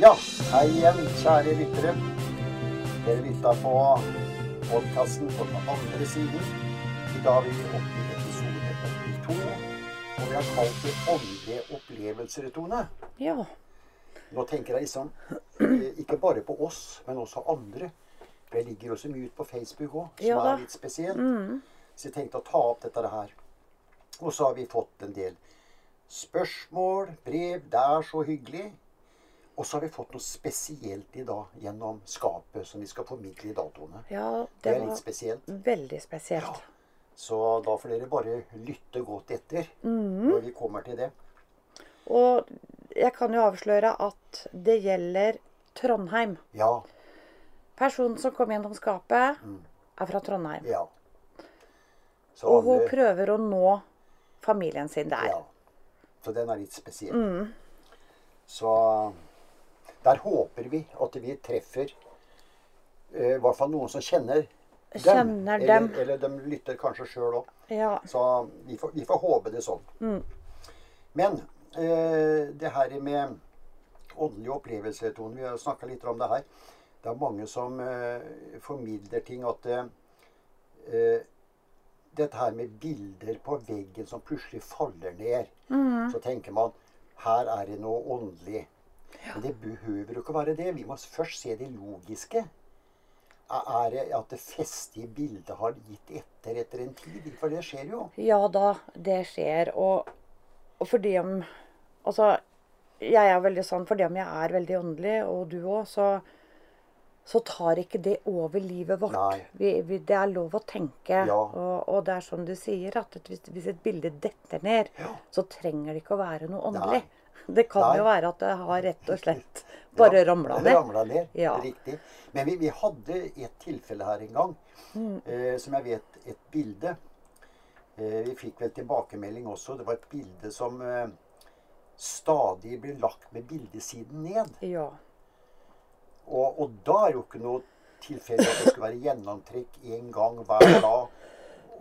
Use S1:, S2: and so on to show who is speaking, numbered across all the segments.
S1: Ja, hei igjen, kjære lyttere. Dere lytta på podkasten på den andre siden. I dag er vi oppe i episode 82, og vi har kalt det 'Åndelige opplevelser', Tone.
S2: Ja.
S1: Nå tenker jeg liksom eh, ikke bare på oss, men også andre. For jeg ligger også mye ute på Facebook òg, som
S2: Ja da. Mm.
S1: er litt spesielt. Så jeg tenkte å ta opp dette her. Og så har vi fått en del spørsmål, brev. Det er så hyggelig. Og så har vi fått noe spesielt i dag gjennom skapet, som vi skal formidle i datoene.
S2: ja
S1: Det
S2: det
S1: er litt
S2: var
S1: spesielt.
S2: veldig spesielt.
S1: Så da får dere bare lytte godt etter
S2: Mm.
S1: når vi kommer til det.
S2: Og jeg kan jo avsløre at det gjelder Trondheim.
S1: Ja,
S2: Personen som kom gjennom skapet, er fra Trondheim.
S1: Mm. ja. Så
S2: Og hun
S1: alle-
S2: prøver å nå familien sin der. Mm.
S1: Ja. Så den er litt spesiell. Så der håper vi at vi treffer eh, i hvert fall noen som kjenner dem.
S2: Kjenner dem.
S1: Eller, eller de lytter kanskje sjøl òg.
S2: Ja.
S1: Så vi får, vi får håpe det sånn. Men eh, det her med åndelige opplevelser, Tone, vi har snakka litt om det her. Det er mange som eh, formidler ting at eh, eh, dette her med bilder på veggen som plutselig faller ned. Så tenker man her er det noe åndelig. Men det behøver jo ikke være det. Vi må først se det logiske. Er er det at det festige bildet har gitt etter etter en tid? For det skjer jo.
S2: ja da, det skjer. Og, og fordi om Altså, jeg er veldig sånn fordi om jeg er veldig åndelig, og du òg, så så tar ikke det over livet vårt.
S1: Nei.
S2: Vi, vi, det er lov å tenke.
S1: Ja.
S2: Og, og det er som du sier, at et- hvis, hvis et bilde detter ned,
S1: Ja.
S2: så trenger det ikke å være noe
S1: Nei.
S2: åndelig. Det kan
S1: Nei.
S2: jo være at det har rett og slett bare
S1: Ja,
S2: ramla
S1: det
S2: ned.
S1: ramla ned.
S2: Ja.
S1: Riktig. Men vi, vi hadde et tilfelle her en gang,
S2: Mm.
S1: eh, som jeg vet et bilde. Eh, vi fikk vel tilbakemelding også. Det var et bilde som eh, stadig ble lagt med bildesiden ned.
S2: Ja.
S1: Og, og da er jo ikke noe tilfelle at det skulle være gjennomtrekk én gang hver dag.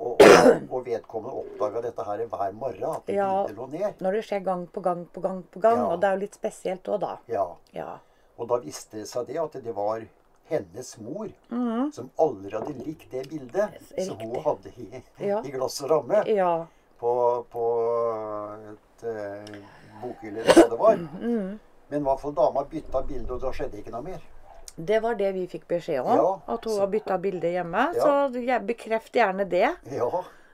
S1: Og, og, og vedkommende oppdaga dette her hver morgen, at det
S2: Ja.
S1: bildet lå ned.
S2: Når det skjer gang på gang på gang på gang,
S1: Ja.
S2: og det er jo litt spesielt òg da.
S1: Ja.
S2: Ja.
S1: Og da viste det seg det at det var hennes mor som aldri hadde likt det bildet
S2: Mhm. Yes,
S1: som hun
S2: riktig.
S1: hadde i,
S2: Ja.
S1: i glass og ramme
S2: ja.
S1: på, på et eh, bokhylle eller hva det var.
S2: Mhm,
S1: Men i hvert fall dama bytta bilde, og da skjedde ikke noe mer.
S2: Det var det vi fikk beskjed om.
S1: Ja,
S2: At hun har bytta bilde hjemme.
S1: Ja.
S2: Så jeg bekreft gjerne det.
S1: Ja,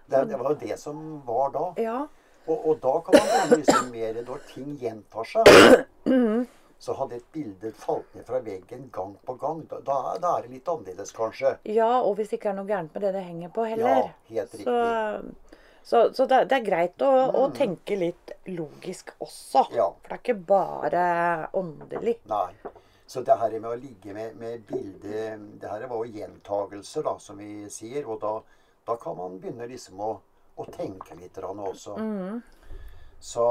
S1: det, det var jo det som var da.
S2: Ja.
S1: Og, og da kan man komme liksom mer når ting gjentar seg.
S2: Mhm.
S1: Så hadde et bilde falt ned fra veggen gang på gang. Da, da, da er det litt annerledes, kanskje.
S2: ja, og hvis det ikke er noe gærent med det det henger på
S1: Ja,
S2: heller.
S1: helt riktig. Mm.
S2: så så, så det, det er greit å, å tenke litt logisk også.
S1: Ja.
S2: For det er ikke bare åndelig.
S1: Nei. Så det her med å ligge med, med bildet Det her var jo gjentagelser, da, som vi sier. Og da, da kan man begynne liksom å, å tenke litt grann også. Så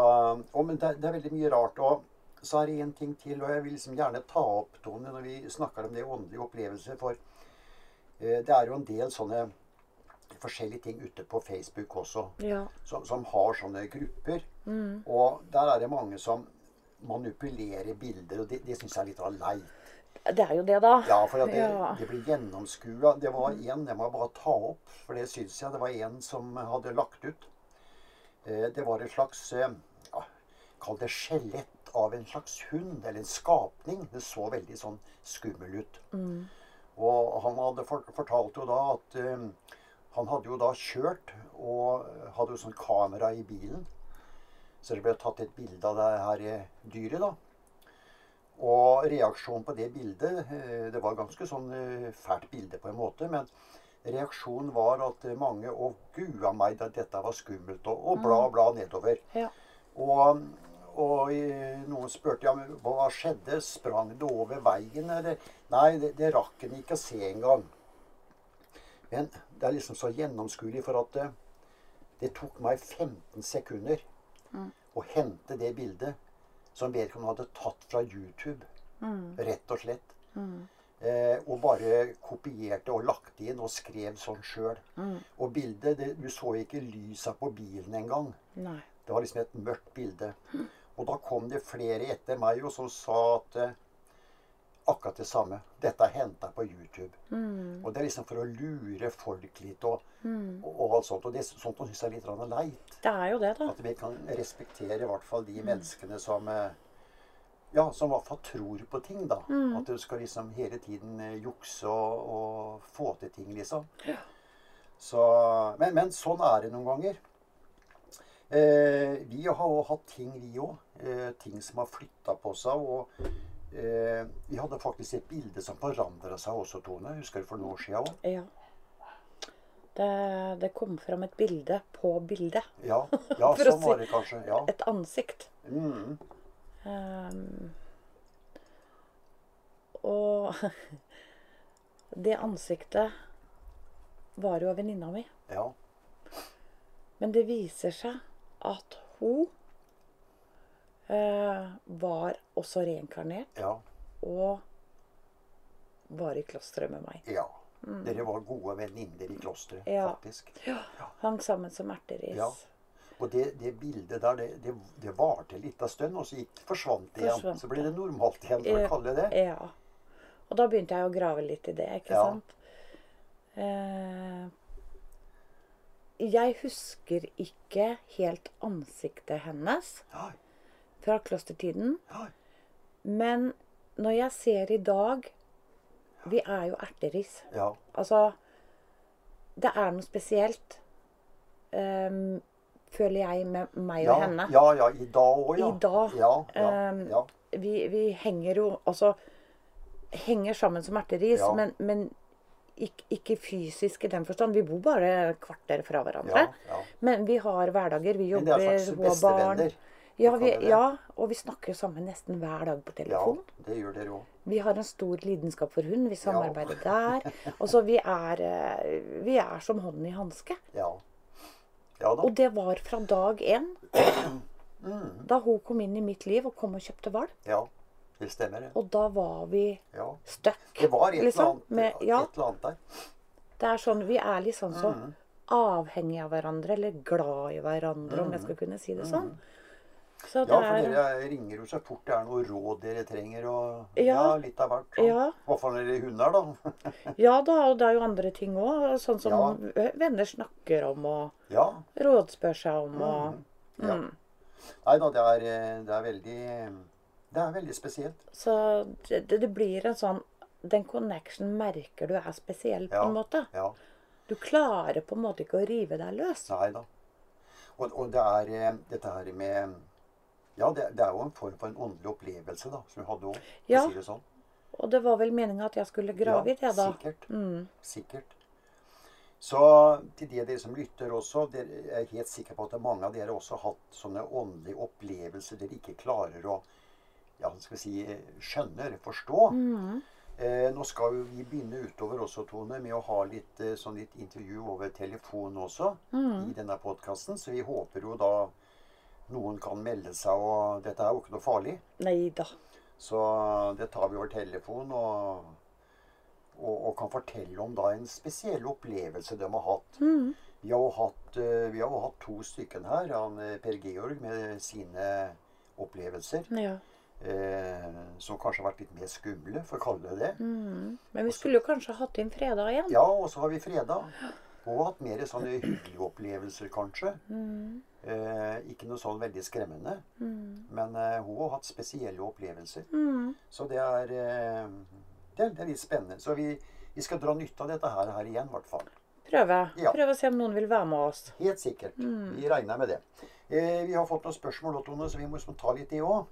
S1: å, men det, det er veldig mye rart. Og så er det én ting til, og jeg vil liksom gjerne ta opp, Tone, når vi snakker om det åndelige opplevelser, for eh, det er jo en del sånne forskjellige ting ute på Facebook også
S2: Ja.
S1: som, som har sånne grupper. Og der er det mange som manipulerer bilder, og det, det syns jeg er litt av leit.
S2: Det er jo det, da.
S1: Ja, for at det,
S2: Ja.
S1: det blir gjennomskua. Det var en, det må jeg bare ta opp, for det syns jeg det var en som hadde lagt ut. Eh, Det var et slags eh, ja, Kall det skjelett av en slags hund, eller en skapning. Det så veldig sånn skummel ut. Og han hadde for- fortalt jo da at eh, han hadde jo da kjørt og hadde jo sånn kamera i bilen. Så det ble tatt et bilde av det her eh, dyret, da. Og reaksjonen på det bildet eh, Det var ganske sånn eh, fælt bilde på en måte, men reaksjonen var at eh, mange Å, gua meg, da dette var skummelt, og, og bla, bla nedover.
S2: Ja.
S1: Og, og eh, noen spurte ja, men hva skjedde. Sprang det over veien, eller? Nei, det, det rakk en ikke å se engang. Men det er liksom så gjennomskuelig, for at eh, det tok meg 15 sekunder å hente det bildet som vedkommende hadde tatt fra YouTube. Rett og slett. Eh, og bare kopierte og lagt inn og skrev sånn sjøl. Og bildet det, Du så ikke lysa på bilen engang.
S2: Nei.
S1: Det var liksom et mørkt bilde. Og da kom det flere etter meg og som sa at eh, akkurat det samme. Dette er henta på YouTube.
S2: Mm.
S1: Og det er liksom for å lure folk litt og,
S2: Mm.
S1: og, og alt sånt. Og det er sånt de syns er litt grann leit.
S2: Det er jo det, da.
S1: At vi kan respektere i hvert fall de menneskene som eh, ja, som i hvert fall tror på ting, da.
S2: Mm.
S1: At du skal liksom hele tiden eh, jukse og, og få til ting, liksom.
S2: Ja.
S1: Så, men, men sånn er det noen ganger. Eh, vi har jo hatt ting, vi òg. Eh, ting som har flytta på seg. Og eh, vi hadde faktisk et bilde som forandra seg også, Tone. Husker du for noen år sia òg?
S2: Ja. Det, det kom fram et bilde på bildet.
S1: Ja, ja
S2: For å
S1: sånn var
S2: si-
S1: det kanskje. Ja.
S2: Et ansikt.
S1: Mm.
S2: Ehm, og det ansiktet var jo av venninna mi.
S1: Ja.
S2: Men det viser seg at hun eh, var også reinkarnert
S1: Ja.
S2: og var i klosteret med meg.
S1: ja. Dere var gode venninner i klosteret,
S2: Mm. Ja.
S1: faktisk.
S2: Hang sammen som erteris.
S1: Ja. Og det, det bildet der, det, det, det varte en liten stund, og så gikk, forsvant det igjen.
S2: Forsvant
S1: Så ble det normalt igjen, for
S2: Ja.
S1: å kalle det det.
S2: Ja. Og da begynte jeg å grave litt i det, ikke
S1: Ja.
S2: sant? Eh, jeg husker ikke helt ansiktet hennes
S1: Ja,
S2: fra klostertiden,
S1: ja,
S2: men når jeg ser i dag Vi er jo erteris.
S1: ja,
S2: Altså Det er noe spesielt, eh, føler jeg, med meg og
S1: ja,
S2: henne.
S1: ja, ja, i dag òg, ja.
S2: I dag,
S1: Ja, ja,
S2: ehm,
S1: ja,
S2: vi, vi henger jo Altså henger sammen som erteris,
S1: Ja.
S2: men, men ikke, ikke fysisk i den forstand. Vi bor bare et kvarter fra hverandre.
S1: ja, ja.
S2: Men vi har hverdager. Vi
S1: Men det
S2: jobber,
S1: er slags
S2: hun har barn.
S1: bestevenner.
S2: Ja,
S1: kan
S2: vi,
S1: vi det.
S2: ja, og vi snakker sammen nesten hver dag på
S1: Ja,
S2: telefon.
S1: det gjør dere òg.
S2: Vi har en stor lidenskap for hund. Vi samarbeider der. Og så vi er, eh, vi er som hånden i hanske.
S1: Ja. ja da.
S2: Og det var fra dag én.
S1: Mm.
S2: Da hun kom inn i mitt liv og kom og kjøpte valp.
S1: Ja, det stemmer, det.
S2: Og da var vi
S1: Ja.
S2: stuck.
S1: Det var et,
S2: liksom,
S1: eller,
S2: med-
S1: annet,
S2: ja.
S1: et eller annet der.
S2: Det er sånn, Vi er litt sånn så
S1: Mm.
S2: avhengige av hverandre, eller glad i hverandre, om jeg skal kunne si det sånn. Så det
S1: Mm. Ja, for
S2: er,
S1: dere ringer jo så fort det er noe råd dere trenger, og ja,
S2: Ja.
S1: litt av hvert. sånn.
S2: Ja.
S1: I hvert fall når det er hunder, da.
S2: ja da, og det er jo andre ting òg. Sånn som
S1: Ja.
S2: venner snakker om og
S1: Ja.
S2: rådspør seg om. og...
S1: Mm. ja.
S2: Mm.
S1: Nei da, det er, eh, det er veldig Det er veldig spesielt.
S2: Så det, det det blir en sånn Den connection merker du er spesiell, på
S1: Ja.
S2: en måte.
S1: Ja.
S2: Du klarer på en måte ikke å rive deg løs.
S1: Nei da. Og, og det er eh, dette her med Ja, det, det er jo en form for en åndelig opplevelse, da, som vi hadde òg.
S2: Ja,
S1: Si det sånn.
S2: Og det var vel meninga at jeg skulle grave i det, da.
S1: sikkert.
S2: Mm.
S1: Sikkert. Så til de av dere som lytter også, dere jeg er helt sikker på at mange av dere også har hatt sånne åndelige opplevelser dere ikke klarer å ja, skal vi si, skjønne eller forstå.
S2: Mm.
S1: Eh, nå skal jo vi begynne utover også, Tone, med å ha litt, eh, sånn litt intervju over telefon også
S2: Mm.
S1: i denne podkasten. Så vi håper jo da noen kan melde seg, og dette er jo ikke noe farlig.
S2: Nei da.
S1: Så det tar vi over telefon og, og, og kan fortelle om da en spesiell opplevelse de har hatt. Vi har jo hatt, eh, vi har jo hatt to stykken her, han, eh, Per Georg med sine opplevelser.
S2: Ja.
S1: Eh, som kanskje har vært litt mer skumle, for å kalle det det.
S2: Men vi skulle jo kanskje hatt inn fredag igjen.
S1: Ja, og så har vi Freda. Hun har hatt mer sånne hyggelige opplevelser, kanskje. Eh, ikke noe sånn veldig skremmende. Men eh, hun har hatt spesielle opplevelser. Så det er, eh, det, det er litt spennende. Så vi, vi skal dra nytte av dette her, her igjen, i hvert fall.
S2: Prøve.
S1: Ja.
S2: Prøve å se om noen vil være med oss.
S1: Helt sikkert. Vi regner med det. Eh, vi har fått noen spørsmål, da, Tone, så vi må liksom ta litt det òg.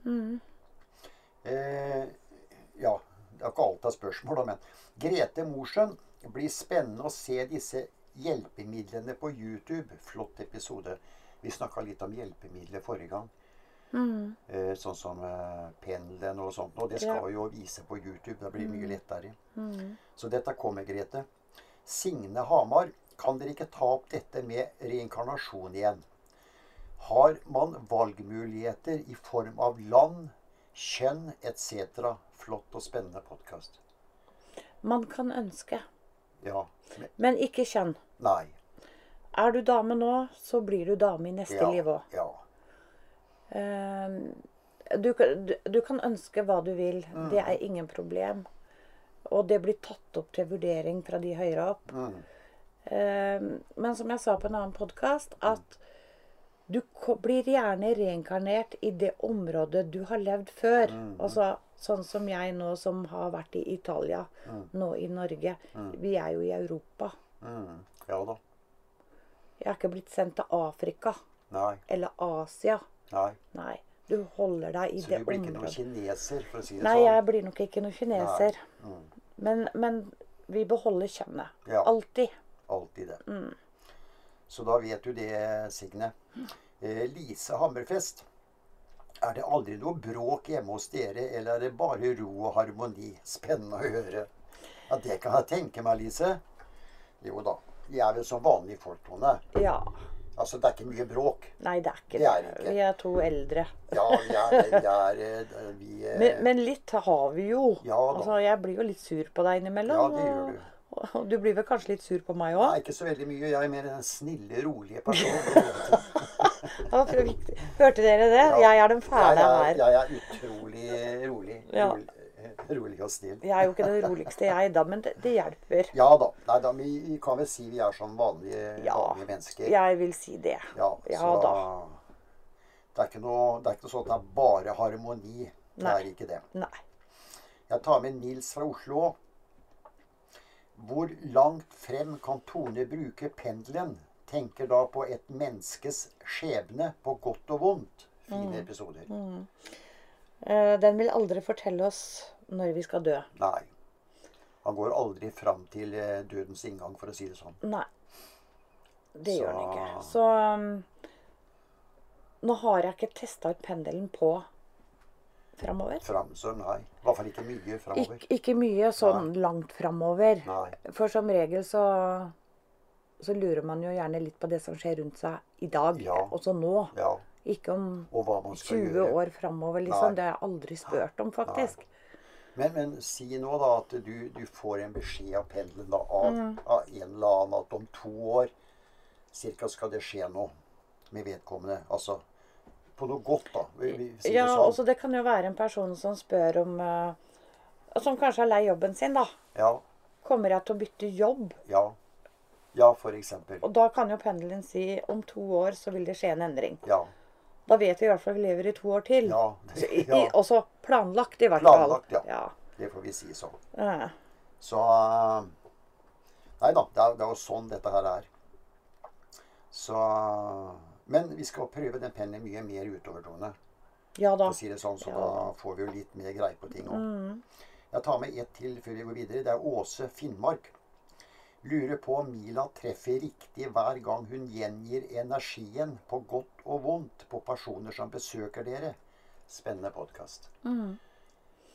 S1: Eh, ja, det er ikke alt av spørsmål, da, men Grete Mosjøen. Det blir spennende å se disse hjelpemidlene på YouTube. Flott episode. Vi snakka litt om hjelpemidler forrige gang. Eh, sånn som eh, pendelen og sånt. Og det skal
S2: Ja.
S1: vi jo vise på YouTube. Det blir mye lettere. Så dette kommer, Grete. Signe Hamar, kan dere ikke ta opp dette med reinkarnasjon igjen? Har man valgmuligheter i form av land, kjønn etc.? Flott og spennende podkast.
S2: Man kan ønske,
S1: Ja. men-
S2: men ikke kjønn.
S1: Nei.
S2: Er du dame nå, så blir du dame i neste
S1: Ja.
S2: liv òg.
S1: ja.
S2: Ehm, du, kan- du, du kan ønske hva du vil.
S1: Mm.
S2: Det er ingen problem. Og det blir tatt opp til vurdering fra de høyere opp.
S1: Mm.
S2: Eh, Men som jeg sa på en annen podkast, at du ko- blir gjerne reinkarnert i det området du har levd før.
S1: Mm.
S2: Altså sånn som jeg nå som har vært i Italia, nå i Norge. Vi er jo i Europa.
S1: Mm. Ja da.
S2: Jeg er ikke blitt sendt til Afrika
S1: Nei.
S2: eller Asia.
S1: nei.
S2: Nei. Du holder deg i
S1: Så
S2: det
S1: du blir ikke noen
S2: området.
S1: kineser, for å si det
S2: Nei, jeg
S1: sånn?
S2: blir nok ikke noen kineser. Men, men vi beholder kjønnet.
S1: Mm. Ja.
S2: Alltid.
S1: Alltid det.
S2: Mm.
S1: Så da vet du det, Signe. Eh, Lise Hammerfest. Er det aldri noe bråk hjemme hos dere, eller er det bare ro og harmoni? Spennende å høre. Ja, det kan jeg tenke meg, Lise. Jo da. Vi er vel som vanlige folk, Tone.
S2: Ja.
S1: Altså, det er ikke mye bråk.
S2: Nei, det er ikke
S1: Det
S2: det.
S1: er det ikke.
S2: Vi er to eldre.
S1: Ja, vi er det. Vi er, eh, vi, eh,
S2: Men, men litt har vi jo.
S1: Ja da.
S2: Altså, jeg blir jo litt sur på deg
S1: Ja,
S2: innimellom.
S1: det gjør du.
S2: og, og du blir vel kanskje litt sur på meg
S1: Nei,
S2: òg?
S1: ikke så veldig mye. Jeg er mer den snille, rolige personen.
S2: Hørte dere det?
S1: Ja.
S2: Jeg er den fæle
S1: Jeg er,
S2: her.
S1: jeg er utrolig rolig.
S2: Ja.
S1: Rolig, eh, rolig og snill.
S2: Jeg er jo ikke den roligste, jeg, da, men det, det hjelper.
S1: Ja da. Nei, da vi, vi kan vel si vi er som vanlige,
S2: Ja.
S1: vanlige mennesker.
S2: Jeg vil si det.
S1: Ja,
S2: Ja da.
S1: Det er ikke noe, det er ikke noe sånn at det er bare harmoni. Det
S2: Nei.
S1: er ikke det.
S2: Nei.
S1: Jeg tar med Nils fra Oslo. Hvor langt frem kan Tone bruke pendelen? Tenker da på et menneskes skjebne, på godt og vondt.
S2: Mm.
S1: Fine episoder.
S2: Eh, Den vil aldri fortelle oss når vi skal dø.
S1: Nei. Han går aldri fram til eh, dødens inngang, for å si det sånn.
S2: Nei. Det gjør den ikke.
S1: Så-
S2: Så um, nå har jeg ikke testa ut pendelen på framover.
S1: Fram, så nei. I hvert fall ikke mye framover.
S2: Ik ikke mye sånn langt framover.
S1: Nei.
S2: For som regel så, så lurer man jo gjerne litt på det som skjer rundt seg i dag,
S1: Ja.
S2: også nå.
S1: Ja.
S2: Ikke om
S1: Og hva man skal
S2: 20
S1: gjøre.
S2: år framover,
S1: Nei.
S2: liksom. Det har jeg aldri spurt om, faktisk.
S1: Men, men si nå da at du, du får en beskjed av pendelen da, av, av en eller annen at om to år cirka skal det skje noe med vedkommende. Altså på noe godt, da. Vi, vi sier
S2: Ja,
S1: det
S2: altså-
S1: sånn.
S2: også det kan jo være en person som spør om eh, Som kanskje er lei jobben sin, da.
S1: Ja,
S2: Kommer jeg til å bytte jobb?
S1: ja. Ja, for eksempel.
S2: Og da kan jo pendelen si om to år så vil det skje en endring.
S1: Ja.
S2: Da vet vi i hvert fall vi lever i to år til.
S1: Ja,
S2: Så i, i,
S1: ja.
S2: også planlagt, i hvert
S1: Planlagt, ja.
S2: fall. Ja.
S1: Det får vi si sånn.
S2: Eh,
S1: Så eh, Nei da, det er, det er jo sånn dette her er. Så Men vi skal prøve den pennen mye mer utover, Tone.
S2: ja
S1: For
S2: da.
S1: å si det sånn, så
S2: Ja.
S1: da får vi jo litt mer greie på ting òg. Jeg tar med ett til før vi går videre. Det er Åse Finnmark. Lurer på om Mila treffer riktig hver gang hun gjengir energien på godt og vondt på personer som besøker dere. Spennende podkast.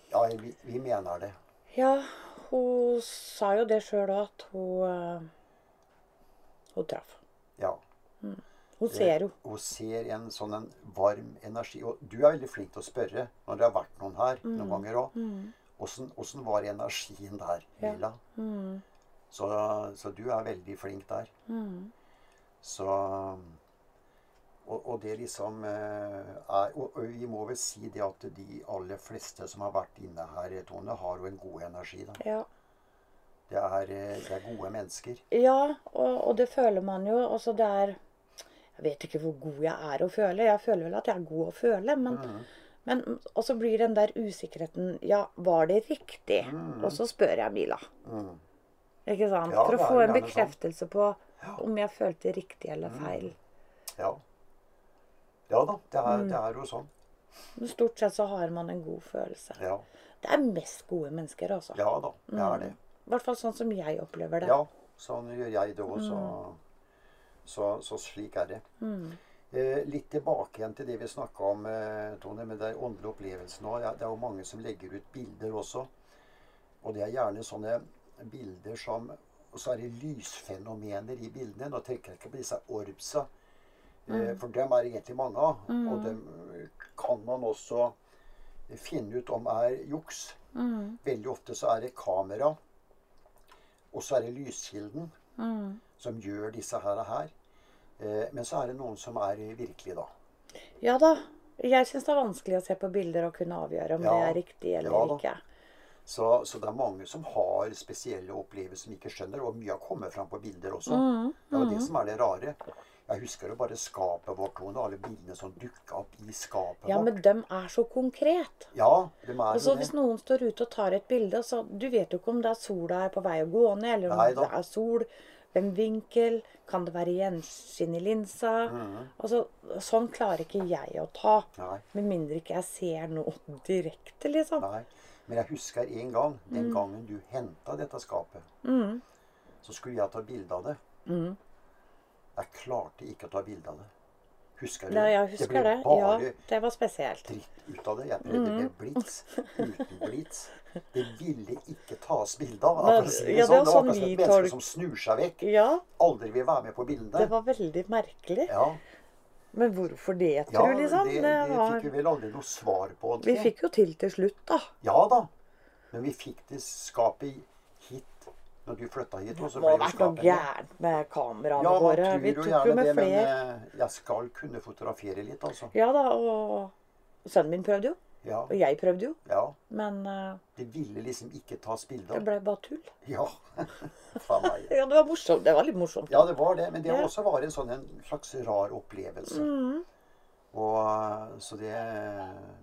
S1: Ja, vi, vi mener det.
S2: Ja, hun sa jo det sjøl òg, at hun eh, Hun traff.
S1: Ja.
S2: Hun ser jo.
S1: Og ser en sånn en varm energi. Og du er veldig flink til å spørre når det har vært noen her noen ganger òg. Åssen var energien der, Mila? Så, så du er veldig flink der. Så og, og det liksom eh, er og, og vi må vel si det at de aller fleste som har vært inne her, Tone, har jo en god energi. da.
S2: Ja.
S1: Det er, eh, det er gode mennesker.
S2: Ja, og, og det føler man jo. Altså det er Jeg vet ikke hvor god jeg er å føle. Jeg føler vel at jeg er god å føle, men, men Og så blir den der usikkerheten Ja, var det riktig? Og så spør jeg Mila. Ikke sant?
S1: Mm. Ja,
S2: For
S1: det
S2: å
S1: er
S2: få en
S1: gjerne Mm. sånn.
S2: bekreftelse på om jeg følte riktig eller feil.
S1: Ja. Ja da, det er, det er jo sånn.
S2: Men stort sett så har man en god følelse.
S1: Ja.
S2: Det er mest gode mennesker, altså.
S1: Ja da, det er det.
S2: I hvert fall sånn som jeg opplever det.
S1: Ja, sånn gjør jeg det òg, så, så, så slik er det. Eh, litt tilbake igjen til det vi snakka om, eh, Tone, med den åndelige opplevelsen òg. Det er jo mange som legger ut bilder også. Og det er gjerne sånne bilder som Og så er det lysfenomener i bildene. Nå tenker jeg ikke på disse orbsa, eh, for dem er det egentlig mange av. Og dem eh, kan man også finne ut om er juks. Veldig ofte så er det kamera. Og så er det lyskilden
S2: Mm.
S1: som gjør disse her. og her. Eh, Men så er det noen som er virkelige, da.
S2: Ja da. Jeg syns det er vanskelig å se på bilder og kunne avgjøre om det
S1: Ja.
S2: er riktig eller
S1: Ja da.
S2: ikke.
S1: Så, så det er mange som har spesielle opplevelser som ikke skjønner, og mye har kommet fram på bilder også.
S2: Mm,
S1: Det er jo det som er det rare. Jeg husker jo bare skapet vårt, Tone, alle bildene som dukka opp i skapet
S2: Ja,
S1: vårt.
S2: men dem er så konkret.
S1: Ja, de er
S2: Altså,
S1: jo det.
S2: hvis noen står ute og tar et bilde, så du vet jo ikke om det er sola er på vei å gå ned, eller om
S1: Nei da.
S2: det er sol, hvem vinkel, kan det være gjenskinn i linsa? Altså, sånn klarer ikke jeg å ta.
S1: Mhm. Nei,
S2: Med mindre ikke jeg ser noe direkte, liksom.
S1: nei. Men jeg husker en gang, den
S2: Mm.
S1: gangen du henta dette skapet, så skulle jeg ta bilde av det.
S2: Mm.
S1: Jeg klarte ikke å ta bilde av det. Husker du?
S2: Nei, jeg husker det.
S1: Det ble
S2: Ja, Mm.
S1: bare
S2: det var spesielt.
S1: dritt ut av det. Jeg prøvde med blits, uten blits. Det ville ikke tas bilde av.
S2: Nei,
S1: for å si det
S2: ja, det
S1: sånn.
S2: er
S1: Det var akkurat
S2: sånn
S1: som
S2: vi
S1: et menneske
S2: tolk-
S1: som snur seg vekk.
S2: Ja,
S1: Aldri vil være med på
S2: det
S1: bildet.
S2: var veldig merkelig.
S1: Ja,
S2: Men hvorfor det,
S1: ja
S2: tror du,
S1: det,
S2: liksom?
S1: det
S2: var...
S1: fikk vi vel aldri noe svar på.
S2: Vi
S1: ordentlig.
S2: fikk jo til til slutt, da.
S1: Ja da. Men vi fikk det skapet hit når du flytta hit. Og så ble
S2: Det må
S1: jo
S2: ha vært noe
S1: skapet igjen.
S2: gærent med kameraene
S1: Ja, man
S2: våre.
S1: tror
S2: Vi
S1: jo
S2: tok jo
S1: gjerne
S2: med
S1: det, men
S2: flere.
S1: eh, jeg skal kunne fotografere litt, altså.
S2: Ja da, og sønnen min prøvde jo.
S1: Ja,
S2: Og jeg prøvde jo.
S1: ja.
S2: Men eh,
S1: Det ville liksom ikke tas bilde
S2: det
S1: av.
S2: ble bare tull.
S1: Ja. Faen meg.
S2: Ja, det var morsomt. Det var litt morsomt.
S1: Ja, det var det. Men det
S2: Ja. Mm.
S1: også var en sånn en slags rar opplevelse. Og eh, så det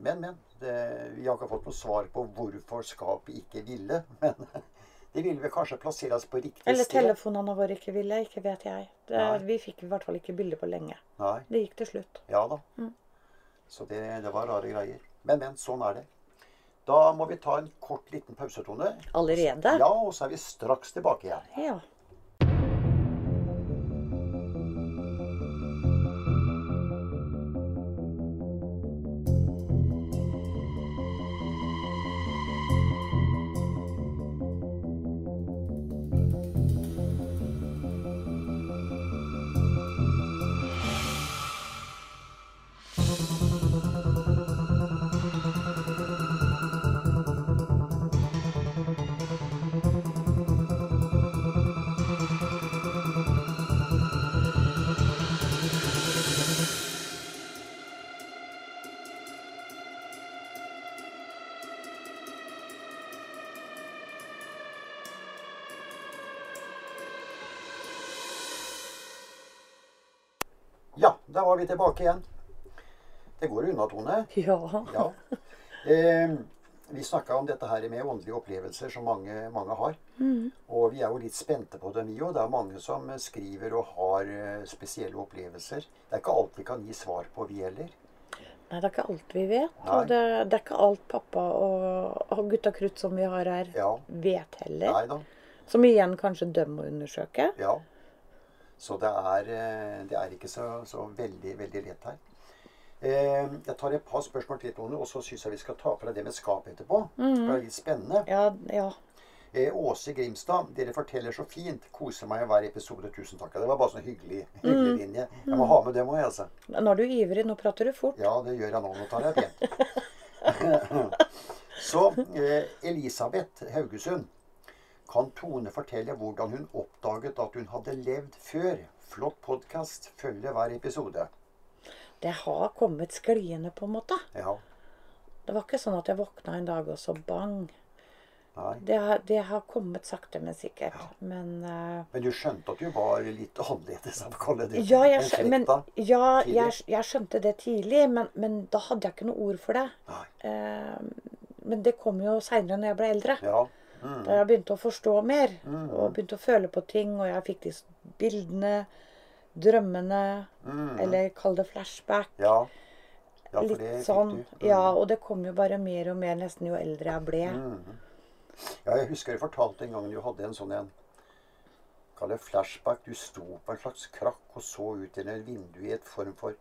S1: Men, men. Det, vi har ikke fått noe svar på hvorfor skapet ikke ville. Men det ville vel kanskje plasseres på riktig
S2: Eller
S1: sted.
S2: telefonene våre ikke ville. Ikke vet jeg. Det,
S1: Nei.
S2: vi fikk i hvert fall ikke bilde på lenge.
S1: Nei.
S2: Det gikk til slutt.
S1: Ja da. Så det, det var rare greier. Men, men. Sånn er det. Da må vi ta en kort liten pausetone.
S2: Allerede?
S1: Ja, og så er vi straks tilbake igjen.
S2: Ja.
S1: Ja, da var vi tilbake igjen. Det går unna, Tone.
S2: Ja.
S1: Ja. Eh, vi snakka om dette her med åndelige opplevelser som mange, mange har. Og vi er jo litt spente på dem, vi òg. Det er mange som skriver og har eh, spesielle opplevelser. Det er ikke alt vi kan gi svar på, vi heller.
S2: Nei, det er ikke alt vi vet.
S1: Nei.
S2: Og det, det er ikke alt pappa og, og gutta krutt som vi har her,
S1: Ja.
S2: vet heller.
S1: Nei da.
S2: Som igjen kanskje de må undersøke.
S1: Ja. Så det er, eh, det er ikke så, så veldig, veldig lett her. Eh, jeg tar et par spørsmål til, Tone, og så syns jeg vi skal ta for deg det med skapet etterpå. For det er litt spennende.
S2: Ja, ja.
S1: Eh, Åse Grimstad, dere forteller så fint. Koser meg i hver episode. Tusen takk. Det var bare sånn hyggelig, hyggelig linje. Jeg må ha med dem òg, jeg, altså.
S2: Nå er du ivrig. Nå prater du fort.
S1: Ja, det gjør jeg nå. Nå tar jeg pent. så eh, Elisabeth Haugesund. Kan Tone fortelle hvordan hun oppdaget at hun hadde levd før? Flott podkast. Følger hver episode.
S2: Det har kommet skliende, på en måte.
S1: Ja.
S2: Det var ikke sånn at jeg våkna en dag og så bang.
S1: Nei.
S2: Det har, det har kommet sakte, men sikkert. Men eh,
S1: Men du skjønte at du var litt annerledes? av Kalle, du.
S2: Ja, jeg,
S1: enn
S2: skjø- men,
S1: slekta?
S2: ja jeg,
S1: tidlig.
S2: jeg skjønte det tidlig, men, men da hadde jeg ikke noe ord for det.
S1: Nei.
S2: Eh, men det kom jo seinere når jeg ble eldre.
S1: Ja. Mm.
S2: Da jeg begynte å forstå mer, og begynte å føle på ting, og jeg fikk de s- bildene, drømmene, eller kall det flashback.
S1: Ja. Mm. ja for det
S2: litt
S1: fikk
S2: sånn.
S1: du. Mm.
S2: Ja, og det kom jo bare mer og mer nesten jo eldre jeg ble.
S1: Ja, jeg husker du fortalte en gang du hadde en sånn en Kall det flashback. Du sto på en slags krakk og så ut gjennom et vindu i et form for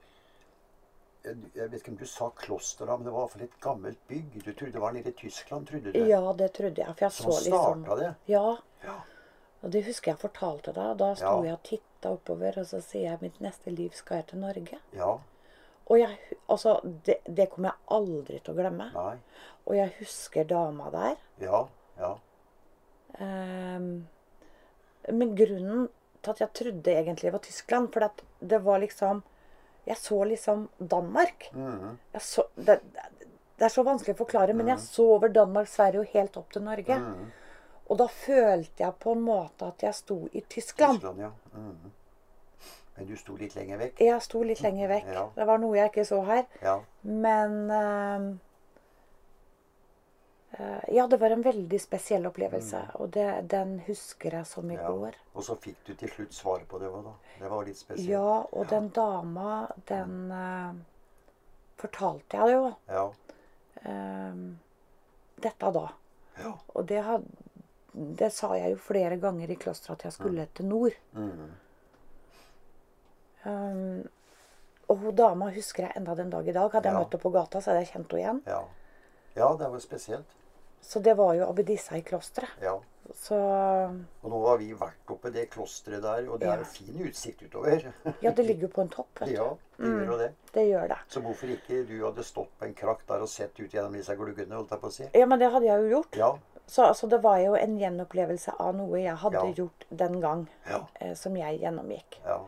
S1: Jeg jeg vet ikke om du sa kloster, da, men det var i hvert fall et gammelt bygg. Du trodde det var nede i Tyskland, trodde du?
S2: Ja, det trodde jeg, for jeg
S1: Som
S2: så liksom
S1: starta det?
S2: Ja,
S1: Ja.
S2: og det husker jeg fortalte deg. Da sto
S1: Ja.
S2: jeg og titta oppover, og så sier jeg mitt neste liv skal jeg til Norge.
S1: ja.
S2: Og jeg, hu- altså, det, det kommer jeg aldri til å glemme.
S1: Nei.
S2: Og jeg husker dama der.
S1: Ja. Ja.
S2: Ehm, men grunnen til at jeg trodde egentlig det var Tyskland, for at det var liksom Jeg så liksom Danmark.
S1: Mhm.
S2: Jeg så, det, det- det er så vanskelig å forklare, men jeg så over Danmark, Sverige og helt opp til Norge.
S1: Mhm.
S2: Og da følte jeg på en måte at jeg sto i Tyskland.
S1: Tyskland, ja. Mhm. Men du sto litt lenger vekk?
S2: Jeg sto litt lenger vekk.
S1: Ja.
S2: Det var noe jeg ikke så her.
S1: Ja.
S2: Men eh, eh, Ja, det var en veldig spesiell opplevelse. Og det, den husker jeg som i
S1: Mm. ja.
S2: går.
S1: Og så fikk du til slutt svaret på det òg, da. Det var litt spesielt.
S2: Ja, og den dama, den eh, fortalte jeg det jo.
S1: Ja.
S2: eh, dette da.
S1: Ja.
S2: Og det, had, det sa jeg jo flere ganger i klosteret at jeg skulle til nord.
S1: Mhm.
S2: Um, og hun dama husker jeg enda den dag i dag. Hadde jeg
S1: Ja.
S2: møtt henne på gata, så hadde jeg kjent henne igjen.
S1: ja. Ja, det var spesielt.
S2: Så det var jo abbedissa i klosteret.
S1: Ja.
S2: Så
S1: Og nå har vi vært oppe i det klosteret der, og det er
S2: Ja.
S1: jo fin utsikt utover.
S2: Ja, det ligger jo på en topp, vet du.
S1: ja, det
S2: Mm.
S1: gjør jo det.
S2: Det gjør det.
S1: Så hvorfor ikke du hadde stått på en krakk der og sett ut gjennom disse gluggene, holdt jeg på å si.
S2: Ja, men det hadde jeg jo gjort.
S1: Ja.
S2: Så altså, det var jo en gjenopplevelse av noe jeg hadde
S1: Ja.
S2: gjort den gang,
S1: Ja.
S2: eh, som jeg gjennomgikk.
S1: Ja,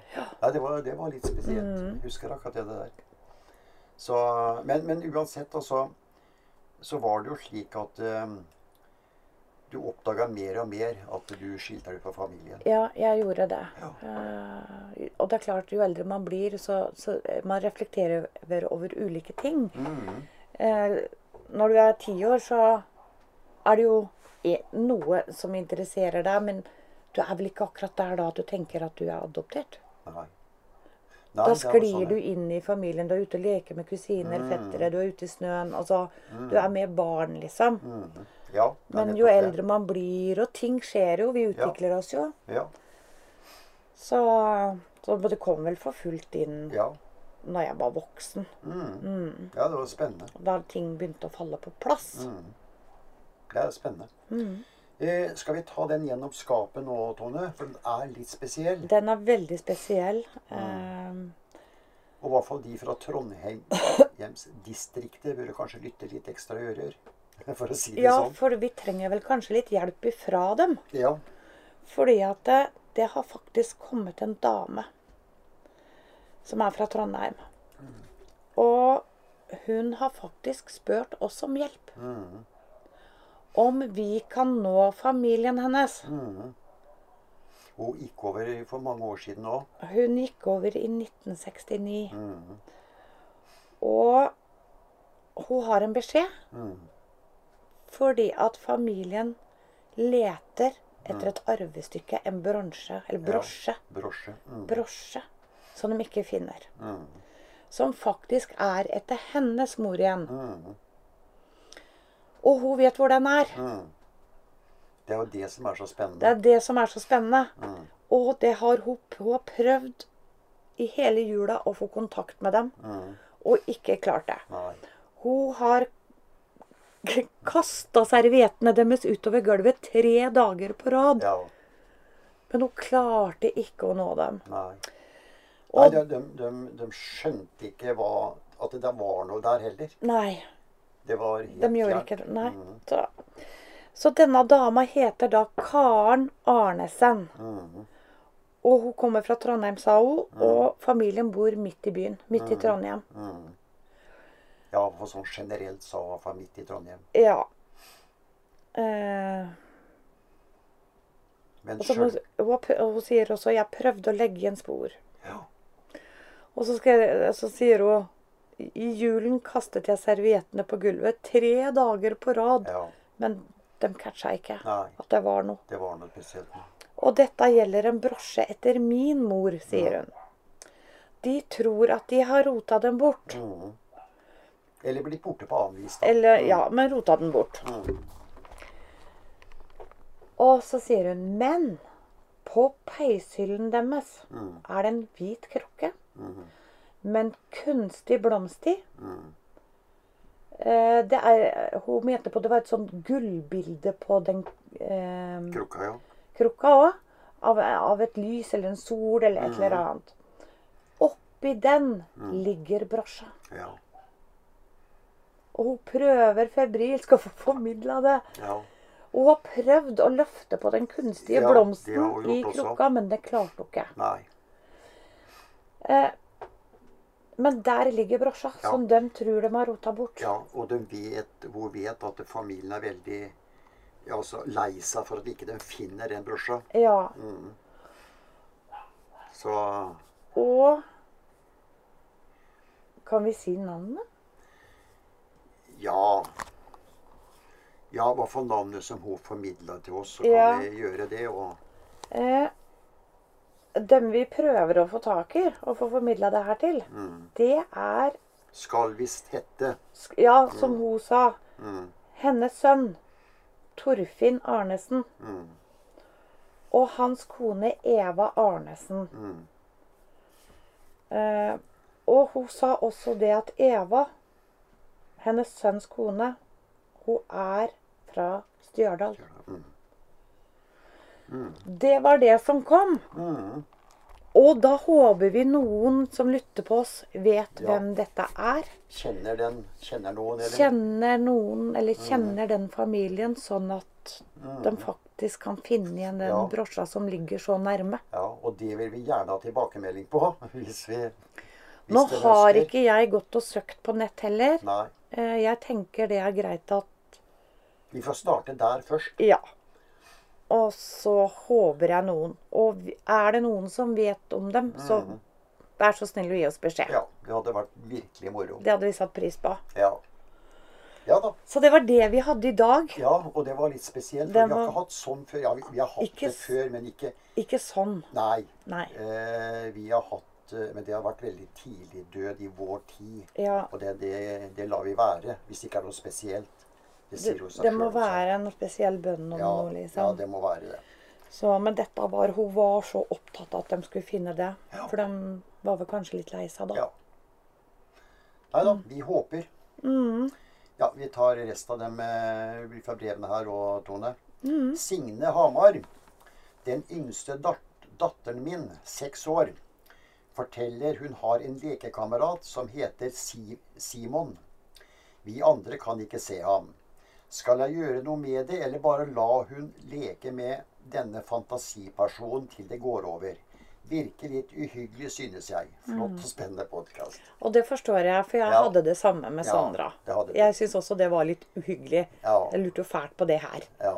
S1: ja det, var, det var litt spesielt.
S2: Mm.
S1: Jeg husker akkurat det der. Så, men, men uansett, altså, så var det jo slik at eh, du oppdaga mer og mer at du skilte deg fra familien.
S2: Ja, jeg gjorde det.
S1: Ja.
S2: Eh, og det er klart, jo eldre man blir, så, så eh, man reflekterer over, over ulike ting.
S1: Mhm.
S2: Eh, når du er ti år, så er det jo e- noe som interesserer deg, men du er vel ikke akkurat der da at du tenker at du er adoptert?
S1: Nei. Nei,
S2: Da
S1: det var
S2: sklir
S1: sånn, Mm.
S2: du inn i familien. Du er ute og leker med kusiner, fettere, du er ute i snøen. Altså, du er med barn, liksom.
S1: Mhm. Mm. Ja, det er
S2: Men
S1: nettopp
S2: jo
S1: det.
S2: eldre man blir, og ting skjer jo, vi utvikler oss jo,
S1: Ja,
S2: så, så det kom vel for fullt inn
S1: ja.
S2: når jeg var voksen.
S1: ja, det var spennende.
S2: Da ting begynte å falle på plass.
S1: Det er spennende.
S2: Mm.
S1: Eh, skal vi ta den gjennom skapet nå, Tone? For den er litt spesiell.
S2: Den er veldig spesiell. Eh,
S1: Og i hvert fall de fra Trondheimsdistriktet burde kanskje lytte litt ekstra i ører. For å si det
S2: Ja,
S1: sånn.
S2: for vi trenger vel kanskje litt hjelp ifra dem.
S1: Ja.
S2: Fordi at det, det har faktisk kommet en dame som er fra Trondheim. Og hun har faktisk spurt oss om hjelp. Om vi kan nå familien hennes.
S1: Hun gikk over for mange år siden nå.
S2: Hun gikk over i 1969. Og hun har en beskjed. Fordi at familien leter etter et arvestykke, en bronsje, eller brosje,
S1: Brosje. Mm.
S2: brosje, som de ikke finner. Som faktisk er etter hennes mor igjen. Og hun vet hvor den er.
S1: Det er jo det som er så
S2: Det
S1: spennende.
S2: er det som er så spennende. Og det har hun, hun har prøvd i hele jula å få kontakt med dem, og ikke klart det.
S1: Nei.
S2: Hun har kasta serviettene deres utover gulvet tre dager på rad.
S1: Ja.
S2: Men hun klarte ikke å nå dem.
S1: Nei. Nei
S2: Og
S1: de, de, de, de skjønte ikke hva, at det der var noe der heller.
S2: nei,
S1: Det var helt Mm.
S2: de gjør
S1: fjernt.
S2: ikke det. Nei. Så, så denne dama heter da Karen Arnesen.
S1: Mm.
S2: Og hun kommer fra Trondheim, sa hun. Og familien bor midt i byen. Midt
S1: Mm.
S2: i Trondheim.
S1: Ja, for sånn generelt sa han fra midt i Trondheim.
S2: Ja. Eh,
S1: Men
S2: og så må,
S1: sjøl
S2: hun, har prø- og hun sier også 'jeg prøvde å legge igjen spor'.
S1: ja.
S2: Og så, skal jeg, eh, så sier hun I julen kastet jeg serviettene på gulvet tre dager på rad.
S1: ja.
S2: Men de catcha ikke
S1: Nei.
S2: at det var noe.
S1: Det var noe spesielt. nå.
S2: Og dette gjelder en brosje etter min mor, sier hun. De tror at de har rota den bort.
S1: Eller blitt borte på annen vis, da.
S2: Eller ja, men rota den bort. Og så sier hun Men på peishyllen deres er det en hvit krukke med en kunstig blomst i. Eh, Det er, hun mente på det var et sånt gullbilde på den eh,
S1: Krukka, ja.
S2: krukka òg. Av, av et lys eller en sol eller et eller annet. Oppi den ligger brosja.
S1: Ja.
S2: Og hun prøver febrilsk å få formidla det.
S1: ja.
S2: Og hun har prøvd å løfte på den kunstige
S1: Ja, det har hun
S2: blomsten i
S1: gjort også.
S2: krukka, men det klarte hun ikke.
S1: Nei.
S2: Eh, Men der ligger brosja,
S1: Ja.
S2: som de tror de har rota bort.
S1: Ja, og de vet, hun vet at familien er veldig ja, altså, lei seg for at ikke de finner den brosja.
S2: Ja,
S1: Mm. Så
S2: Og Kan vi si navnet?
S1: ja Ja, i hvert fall navnet som hun formidla til oss, så kan
S2: Ja.
S1: vi gjøre det. Og
S2: Eh, dem vi prøver å få tak i og få formidla det her til,
S1: Mm.
S2: det er
S1: skal visst hette
S2: sk- Ja, som hun sa. Hennes sønn Torfinn Arnesen. Og hans kone Eva Arnesen. Eh, og hun sa også det at Eva, hennes sønns kone, hun er fra Stjørdal. Det var det som kom. Og da håper vi noen som lytter på oss, vet
S1: Ja.
S2: hvem dette er.
S1: Kjenner den Kjenner noen, eller?
S2: Kjenner noen, eller kjenner den familien, sånn at de faktisk kan finne igjen den
S1: Mm. Ja.
S2: brosja som ligger så nærme.
S1: Ja, og det vil vi gjerne ha tilbakemelding på. Hvis vi hvis
S2: Nå
S1: dere
S2: har
S1: ønsker.
S2: ikke jeg gått og søkt på nett heller.
S1: Nei.
S2: Eh, Jeg tenker det er greit at
S1: Vi får starte der først.
S2: Ja. Og så håper jeg noen. Og vi- er det noen som vet om dem, så vær så snill å gi oss beskjed.
S1: Mm. Ja, det hadde vært virkelig moro.
S2: Det hadde vi satt pris på.
S1: Ja. Ja da.
S2: Så det var det vi hadde i dag.
S1: Ja, og det var litt spesielt. For
S2: Den
S1: vi har
S2: var-
S1: ikke hatt sånn før. Ja, vi, vi har hatt
S2: Ikke
S1: det
S2: s-
S1: før, men ikke
S2: Ikke sånn.
S1: Nei.
S2: Nei.
S1: Eh, vi har hatt eh, Men det har vært veldig tidlig død i vår tid.
S2: Ja.
S1: Og det, det, det lar vi være. Hvis det ikke er noe spesielt. Det
S2: Det,
S1: sier jo seg
S2: det må
S1: selv, så-
S2: være en spesiell bønn om
S1: ja,
S2: noe,
S1: ja,
S2: liksom.
S1: det må være det.
S2: Så, men dette var Hun var så opptatt av at de skulle finne det.
S1: Ja.
S2: For de var vel kanskje litt lei seg da.
S1: Ja. Nei da, vi håper. Ja, vi tar resten av dem eh, fra brevene her og Tone. Signe Hamar. Den yngste dat datteren min, seks år, forteller hun har en lekekamerat som heter si Simon. Vi andre kan ikke se ham. Skal jeg gjøre noe med det, eller bare la hun leke med denne fantasipersonen til det går over? Virker litt uhyggelig, synes jeg.
S2: Mm.
S1: Flott og spennende podkast.
S2: Og det forstår jeg, for jeg
S1: Ja.
S2: hadde det samme med
S1: Ja,
S2: Sandra.
S1: det hadde du.
S2: jeg syns også det var litt uhyggelig.
S1: Ja.
S2: Jeg lurte jo fælt på det her.
S1: Ja.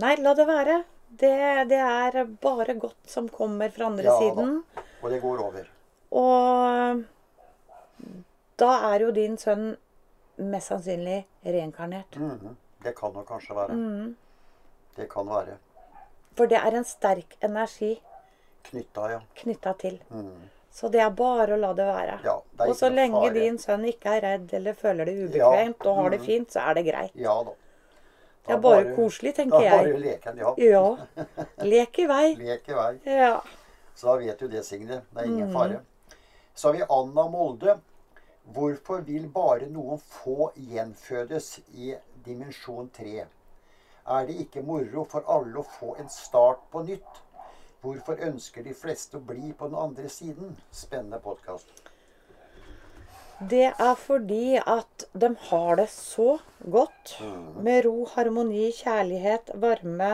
S2: Nei, la det være. Det, det er bare godt som kommer fra andre
S1: Ja, da.
S2: siden.
S1: Og det går over.
S2: Og da er jo din sønn mest sannsynlig reinkarnert.
S1: Mhm. Det kan nok kanskje være.
S2: Mm.
S1: Det kan være.
S2: For det er en sterk energi
S1: Knytta, ja.
S2: knytta til. Så det er bare å la det være.
S1: Mm. Ja, det er
S2: og så
S1: ikke noe
S2: lenge
S1: fare.
S2: din sønn ikke er redd eller føler det
S1: Ja. Mm.
S2: ubekvemt og har det fint, så er det greit.
S1: Ja da.
S2: Det er bare koselig, tenker
S1: Da bare
S2: jeg.
S1: leken, ja.
S2: Ja. Lek i vei.
S1: Lek i vei.
S2: Ja.
S1: Så da vet du det, Signe. Det er ingen fare. Så har vi Anna Molde. Hvorfor vil bare noen få gjenfødes i dimensjon 3? Er det ikke moro for alle å få en start på nytt? Hvorfor ønsker de fleste å bli på den andre siden? Spennende podkast.
S2: Det er fordi at de har det så godt.
S1: Mm.
S2: Med ro, harmoni, kjærlighet, varme.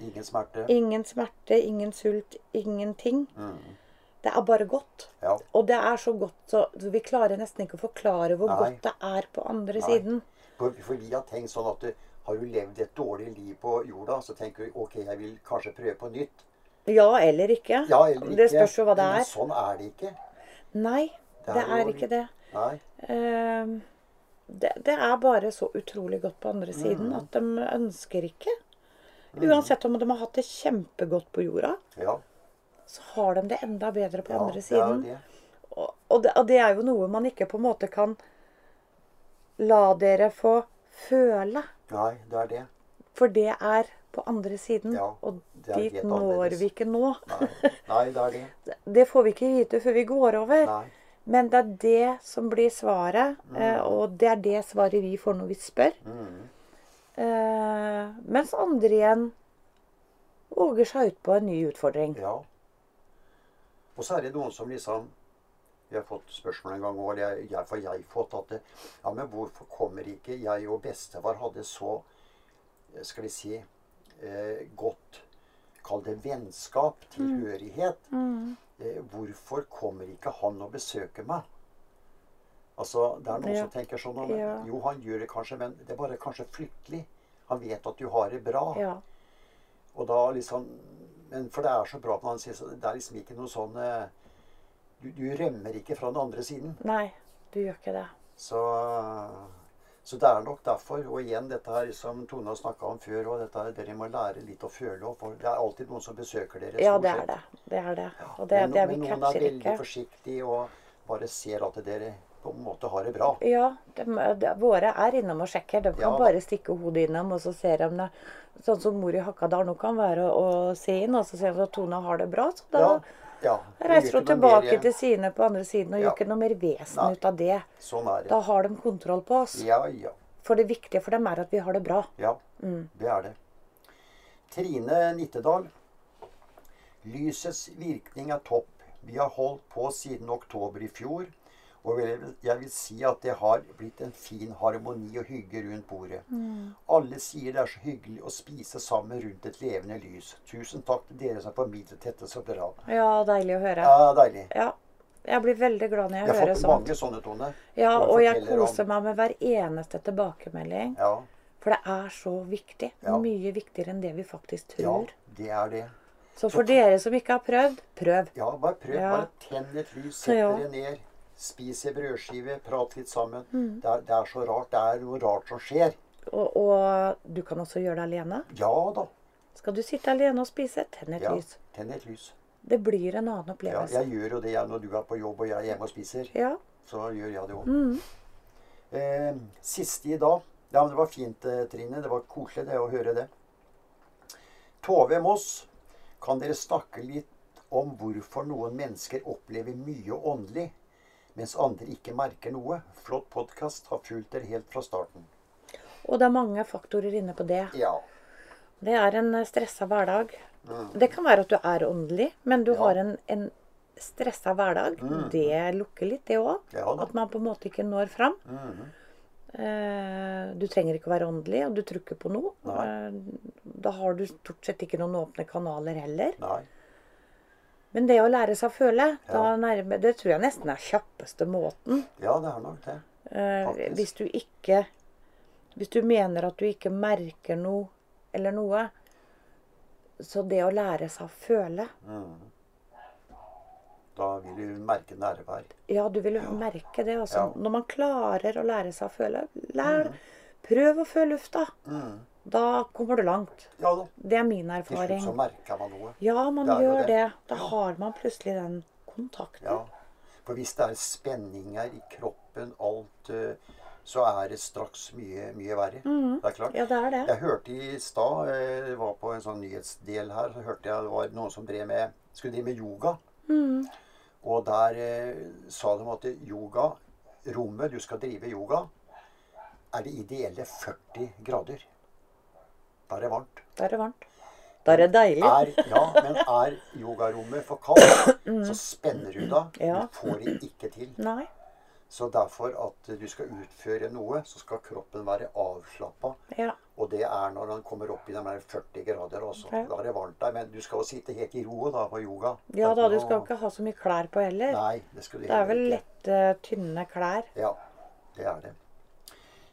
S1: Ingen smerte.
S2: Ingen smerte, ingen sult, ingenting. Det er bare godt.
S1: Mm. Ja.
S2: Og det er så godt så vi klarer nesten ikke å forklare hvor
S1: Nei.
S2: godt det er på andre siden.
S1: For, for vi har tenkt sånn at du, har du levd et dårlig liv på jorda, så tenker du ok, jeg vil kanskje prøve på nytt.
S2: Ja eller ikke.
S1: Ja eller ikke.
S2: Det spørs jo hva det
S1: Men
S2: er.
S1: sånn er det ikke.
S2: Nei,
S1: Det
S2: det,
S1: er jo-
S2: er ikke det.
S1: Nei.
S2: Ehm, det. Det er bare så utrolig godt på andre siden
S1: Mm.
S2: at de ønsker ikke. Uansett om de har hatt det kjempegodt på jorda,
S1: Ja.
S2: så har de det enda bedre på
S1: ja
S2: andre
S1: det er jo
S2: siden.
S1: det.
S2: Og, og, det, og det er jo noe man ikke på en måte kan la dere få føle.
S1: Nei, det er det.
S2: For det er på andre siden,
S1: Ja,
S2: og
S1: det er
S2: dit
S1: helt
S2: når
S1: annerledes.
S2: vi ikke nå.
S1: Nei. Nei, det er det.
S2: Det får vi ikke vite før vi går over.
S1: Nei. Mm.
S2: Men det er det som blir svaret, eh, og det er det svaret vi får når vi spør. Eh, mens andre igjen våger seg ut på en ny utfordring.
S1: Ja. Og så er det noen som liksom Vi har fått spørsmål en gang, og det er- jeg, for jeg har fått at det, Ja, men hvorfor kommer ikke jeg og bestefar hadde så eh, Skal vi si eh, godt Kall det vennskap,
S2: Mm.
S1: tilhørighet. Eh, hvorfor kommer ikke han og besøker meg? Altså, det er noen
S2: Ja.
S1: som tenker sånn om
S2: Ja.
S1: Jo, han gjør det kanskje, men det er bare kanskje fryktelig. Han vet at du har det bra.
S2: Ja.
S1: Og da liksom Men for det er så bra på den andre siden, så det er liksom ikke noe sånn eh, Du, du rømmer ikke fra den andre siden.
S2: Nei, du gjør ikke det.
S1: Så, så det er nok derfor. Og igjen dette her som Tone har snakka om før og dette her, Dere må lære litt å føle òg, for det er alltid noen som besøker dere.
S2: Ja,
S1: stort
S2: det
S1: sett.
S2: er det. Det er det. Og det,
S1: men,
S2: det vi
S1: men noen er
S2: catcher
S1: veldig
S2: ikke.
S1: forsiktige og bare ser at dere på en måte har det bra.
S2: Ja, dem- de, våre er innom og sjekker. De kan
S1: Ja.
S2: bare stikke hodet innom, og så ser de det. Sånn som mor i Hakadal nå kan være å å se inn, og så ser de at Tone har det bra. Så da
S1: ja, det gjør
S2: reiser hun
S1: ikke noe
S2: tilbake
S1: mer.
S2: til sine på andre siden og
S1: Ja.
S2: gjør ikke noe mer vesen
S1: Nei.
S2: ut av det.
S1: Sånn er det.
S2: Da har de kontroll på oss.
S1: Ja, ja.
S2: For det viktige for dem er at vi har det bra.
S1: Ja,
S2: Mm.
S1: det er det. Trine Nittedal. Lysets virkning er topp. Vi har holdt på siden oktober i fjor. Og vil- jeg vil si at det har blitt en fin harmoni og hygge rundt bordet.
S2: Mm.
S1: Alle sier det er så hyggelig å spise sammen rundt et levende lys. Tusen takk til dere som formidlet dette så bra.
S2: Ja, deilig å høre.
S1: Ja, deilig.
S2: Ja. Jeg blir veldig glad når
S1: Jeg
S2: jeg
S1: har
S2: hører
S1: fått
S2: sånt.
S1: mange sånne, Tone.
S2: Ja,
S1: hvor
S2: og jeg
S1: forteller om-
S2: koser meg med hver eneste tilbakemelding.
S1: Ja,
S2: For det er så viktig.
S1: Ja.
S2: Mye viktigere enn det vi faktisk
S1: ja,
S2: tror.
S1: det er det.
S2: Så for dere som ikke har prøvd, prøv.
S1: Ja, bare prøv.
S2: Ja.
S1: Bare tenn et lys, sett
S2: Ja.
S1: dere ned. Spis ei brødskive, prat litt sammen.
S2: Mm.
S1: Det, er, det er så rart. Det er noe rart som skjer.
S2: Og, og du kan også gjøre det alene.
S1: Ja da.
S2: Skal du sitte alene og spise, tenn et
S1: Ja,
S2: lys.
S1: tenn et lys.
S2: Det blir en annen
S1: Ja,
S2: opplevelse.
S1: jeg gjør jo det jeg, når du er på jobb og jeg er hjemme og spiser.
S2: Ja.
S1: Så gjør jeg det òg. Eh, siste i dag Ja, men det var fint, eh, Trine. Det var koselig det å høre det. Tove Moss, kan dere snakke litt om hvorfor noen mennesker opplever mye åndelig, mens andre ikke merker noe? Flott podkast. Har fulgt dere helt fra starten.
S2: Og det er mange faktorer inne på det.
S1: Ja.
S2: Det er en eh, stressa hverdag. Det kan være at du er åndelig, men du
S1: Ja. Mm.
S2: har en, en stressa hverdag. Det lukker litt, det òg.
S1: Ja da. Mm.
S2: At man på en måte ikke når fram. Eh, Du trenger ikke å være åndelig, og du tror ikke på noe.
S1: Nei.
S2: Eh, Da har du stort sett ikke noen åpne kanaler heller.
S1: Nei.
S2: Men det å lære seg å føle, da
S1: Ja.
S2: nærme, det tror jeg nesten er kjappeste måten.
S1: Ja, det er nok det.
S2: Eh,
S1: Faktisk.
S2: hvis du ikke Hvis du mener at du ikke merker noe eller noe, så det å lære seg å føle
S1: Da vil du merke nærvær.
S2: Ja, du vil merke det. Altså.
S1: Ja. Mm.
S2: Når man klarer å lære seg å føle, lær. Prøv å føle lufta. Da kommer du langt.
S1: Ja da.
S2: Det er min
S1: Mm. Til slutt
S2: erfaring.
S1: så merker man noe.
S2: Ja, man
S1: Det er jo det.
S2: gjør det. Da har man plutselig den kontakten.
S1: Ja. For hvis det er spenninger i kroppen, alt eh, Så er det straks mye, mye verre. Det er klart.
S2: Mm. Ja, det er det.
S1: Jeg hørte i stad, eh, det var på en sånn nyhetsdel her, så hørte jeg det var noen som drev med, skulle drive med yoga.
S2: Mm.
S1: Og der eh, sa de at yoga, rommet du skal drive yoga, er det ideelle 40 grader. Da er det varmt.
S2: Da er det varmt. Da er det deilig.
S1: Er, ja, men er yogarommet for kaldt, så spenner du deg.
S2: Ja.
S1: Du får det ikke til.
S2: Nei.
S1: Så derfor at du skal utføre noe, så skal kroppen være avslappa.
S2: Ja.
S1: Og det er når han kommer opp i de der 40 grader også.
S2: Ja.
S1: Da er det varmt der. Men du skal jo sitte helt i ro da på yoga.
S2: ja da,
S1: Uten
S2: du
S1: å-
S2: skal ikke ha så mye klær på heller.
S1: Nei, det skal du
S2: Det er vel
S1: heller ikke.
S2: lette, tynne klær.
S1: Ja, det er det.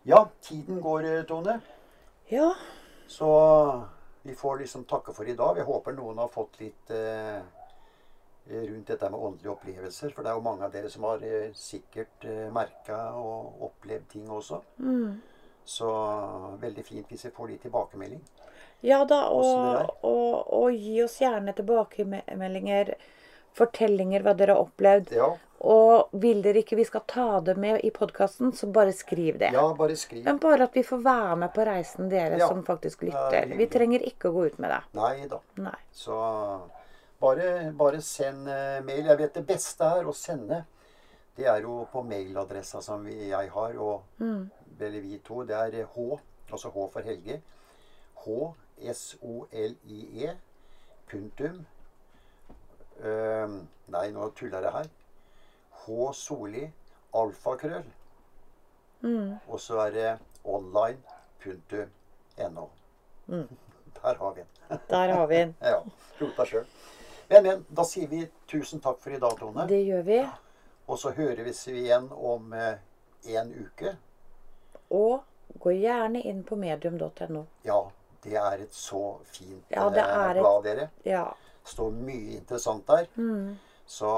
S1: Ja, tiden går, eh, Tone.
S2: Ja.
S1: Så vi får liksom takke for i dag. Jeg håper noen har fått litt eh, rundt dette med åndelige opplevelser. For det er jo mange av dere som har eh, sikkert eh, merka og opplevd ting også.
S2: Mm.
S1: Så veldig fint hvis vi får litt tilbakemelding.
S2: Ja da,
S1: Åssen det er.
S2: og, og, og gi oss gjerne tilbakemeldinger. Fortellinger hva dere har opplevd.
S1: Ja,
S2: Og vil dere ikke vi skal ta det med i podkasten, så bare skriv det.
S1: ja bare skriv.
S2: Men bare at vi får være med på reisen dere
S1: Ja.
S2: som faktisk
S1: er
S2: lytter. Vi
S1: hyggelig.
S2: trenger ikke å gå ut med det.
S1: Nei da.
S2: Nei.
S1: Så bare, bare send eh, mail. Jeg vet det beste er å sende. Det er jo på mailadressa som vi, jeg har, og eller vi to. Det er H, altså H for Helge. H, S-O-L-I-E, E, punktum. Ehm, nei, nå tuller jeg her. H Soli, alfakrøll. Og så er det online, punktum, no. Der har vi den.
S2: Der har vi den.
S1: Ja. Rota sjøl. Men, men, da sier vi tusen takk for i dag, Tone.
S2: Det gjør vi.
S1: Og så hører vi oss igjen om eh, en uke.
S2: Og gå gjerne inn på medium.no.
S1: Ja, det er et så fint
S2: Ja, det
S1: eh,
S2: er et-
S1: blad, dere.
S2: Ja.
S1: står mye interessant der.
S2: Mm.
S1: Så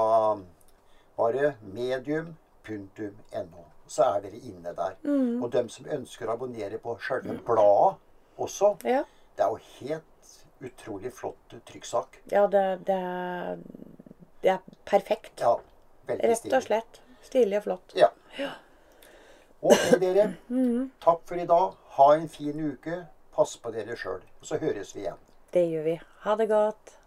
S1: bare medium.no, så er dere inne der.
S2: Mm.
S1: Og dem som ønsker å abonnere på selve bladet også,
S2: Ja,
S1: det er jo helt utrolig flott trykksak.
S2: ja det, det, er- det er perfekt.
S1: Ja, veldig
S2: Rett og
S1: stilig.
S2: slett. Stilig og flott.
S1: Ja. Ok, dere. Takk for i dag. Ha en fin uke. Pass på dere sjøl. Så høres vi igjen.
S2: Det gjør vi. Ha det godt.